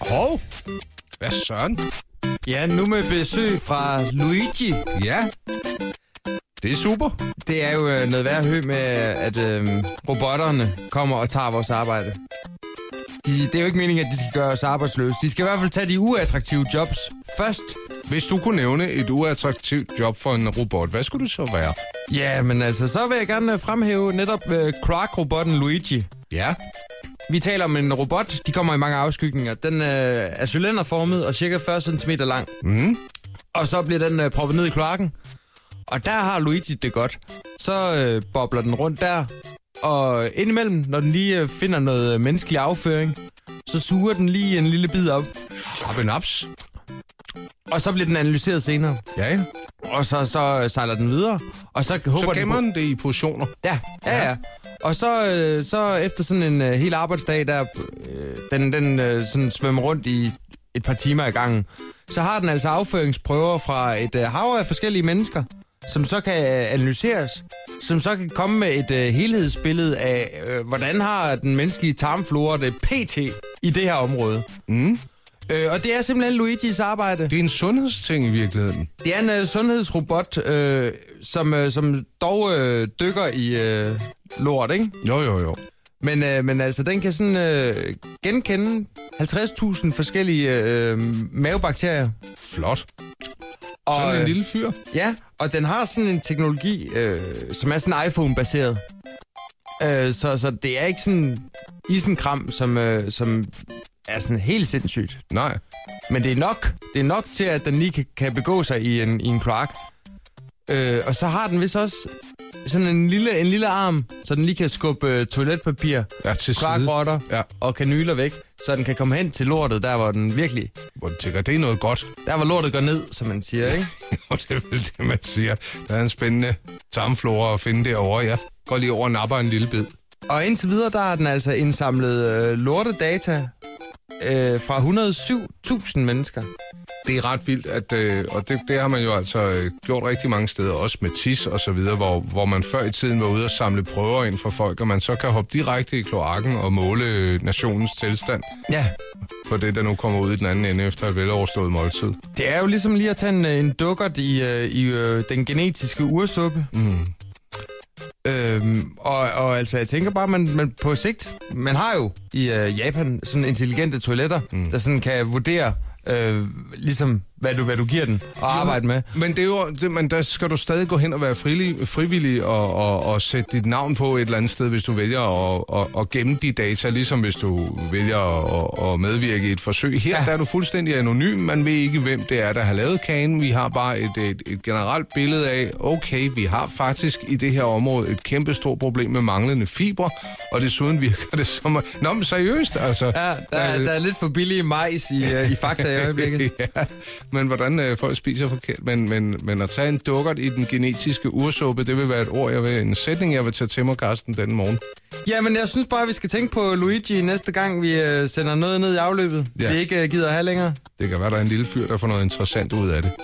Hov! Hvad søren? Ja, nu med besøg fra Luigi. Ja. Det er super. Det er jo øh, noget værd at høre med, at øh, robotterne kommer og tager vores arbejde. De, det er jo ikke meningen, at de skal gøre os arbejdsløse. De skal i hvert fald tage de uattraktive jobs først. Hvis du kunne nævne et uattraktivt job for en robot, hvad skulle det så være? Ja, men altså, så vil jeg gerne øh, fremhæve netop øh, Croc-robotten Luigi. Ja. Vi taler om en robot. De kommer i mange afskygninger. Den øh, er cylinderformet og cirka 40 cm lang. Mm. Og så bliver den øh, proppet ned i kloakken. Og der har Luigi det godt. Så øh, bobler den rundt der. Og indimellem, når den lige øh, finder noget øh, menneskelig afføring, så suger den lige en lille bid op. Op en ups. Og så bliver den analyseret senere. Ja, ja. Og så, så øh, sejler den videre. Og så håber Så den gemmer på... den det i positioner. Ja, ja, ja. Og så, øh, så efter sådan en øh, hel arbejdsdag, der øh, den, den øh, sådan svømmer rundt i et par timer i gangen, så har den altså afføringsprøver fra et øh, hav af forskellige mennesker, som så kan øh, analyseres, som så kan komme med et øh, helhedsbillede af, øh, hvordan har den menneskelige tarmflora det pt. i det her område. Mm. Øh, og det er simpelthen Luigis arbejde. Det er en sundhedsting i virkeligheden. Det er en øh, sundhedsrobot, øh, som, øh, som dog øh, dykker i øh, lort, ikke? Jo, jo, jo. Men, øh, men altså, den kan sådan øh, genkende 50.000 forskellige øh, mavebakterier. Flot. Og, Sådan en øh, lille fyr. Ja, og den har sådan en teknologi, øh, som er sådan iPhone-baseret. Øh, så, så det er ikke sådan isenkram, som, øh, som er sådan helt sindssygt. Nej. Men det er nok, det er nok til, at den lige kan, kan begå sig i en, i en kloak. Øh, og så har den vist også sådan en lille, en lille arm, så den lige kan skubbe øh, toiletpapir Ja, til side. kloakrotter Ja. ja. og kanyler væk, så den kan komme hen til lortet, der hvor den virkelig, Hvor du tænker, det er noget godt. der hvor lortet går ned, som man siger, ikke? Og det er vel det, man siger. Der er en spændende tarmflora at finde derovre, ja. Går lige over og napper en lille bid. Og indtil videre, der har den altså indsamlet øh, lortedata øh, fra 107.000 mennesker. Det er ret vildt, at, øh, og det, det har man jo altså øh, gjort rigtig mange steder, også med tis og så videre, hvor, hvor man før i tiden var ude og samle prøver ind fra folk, og man så kan hoppe direkte i kloakken og måle øh, nationens tilstand Ja, på det, der nu kommer ud i den anden ende efter et veloverstået måltid. det er jo ligesom lige at tage en, øh, en dukkert i, øh, i øh, den genetiske ursuppe. Mm. Øhm, og, og altså, jeg tænker bare, man, man på sigt, man har jo i øh, Japan sådan intelligente toiletter, mm. der sådan kan vurdere, øh, ligesom hvad du, hvad du giver den og arbejde med. Men, det er jo, det, men der skal du stadig gå hen og være frivillig, frivillig og, og, og sætte dit navn på et eller andet sted, hvis du vælger at og, og gemme de data, ligesom hvis du vælger at, at medvirke i et forsøg. Her ja. der er du fuldstændig anonym. Man ved ikke, hvem det er, der har lavet kagen. Vi har bare et, et, et generelt billede af, okay, vi har faktisk i det her område et kæmpe stort problem med manglende fibre, og desuden virker det som... at- Nå, men seriøst, altså. Ja, der, er, der er lidt for billig majs i, øh, i fakta i øjeblikket. ja, men hvordan øh, folk spiser forkert. Men, men, men at tage en dukkert i den genetiske ursuppe, det vil være et ord, jeg vil, en sætning, jeg vil tage til mig, Carsten, den morgen. Ja, men jeg synes bare, at vi skal tænke på Luigi næste gang, vi øh, sender noget ned i afløbet, Ja. ja. vi ikke øh, gider at have længere. Det kan være, der er en lille fyr, der får noget interessant ud af det.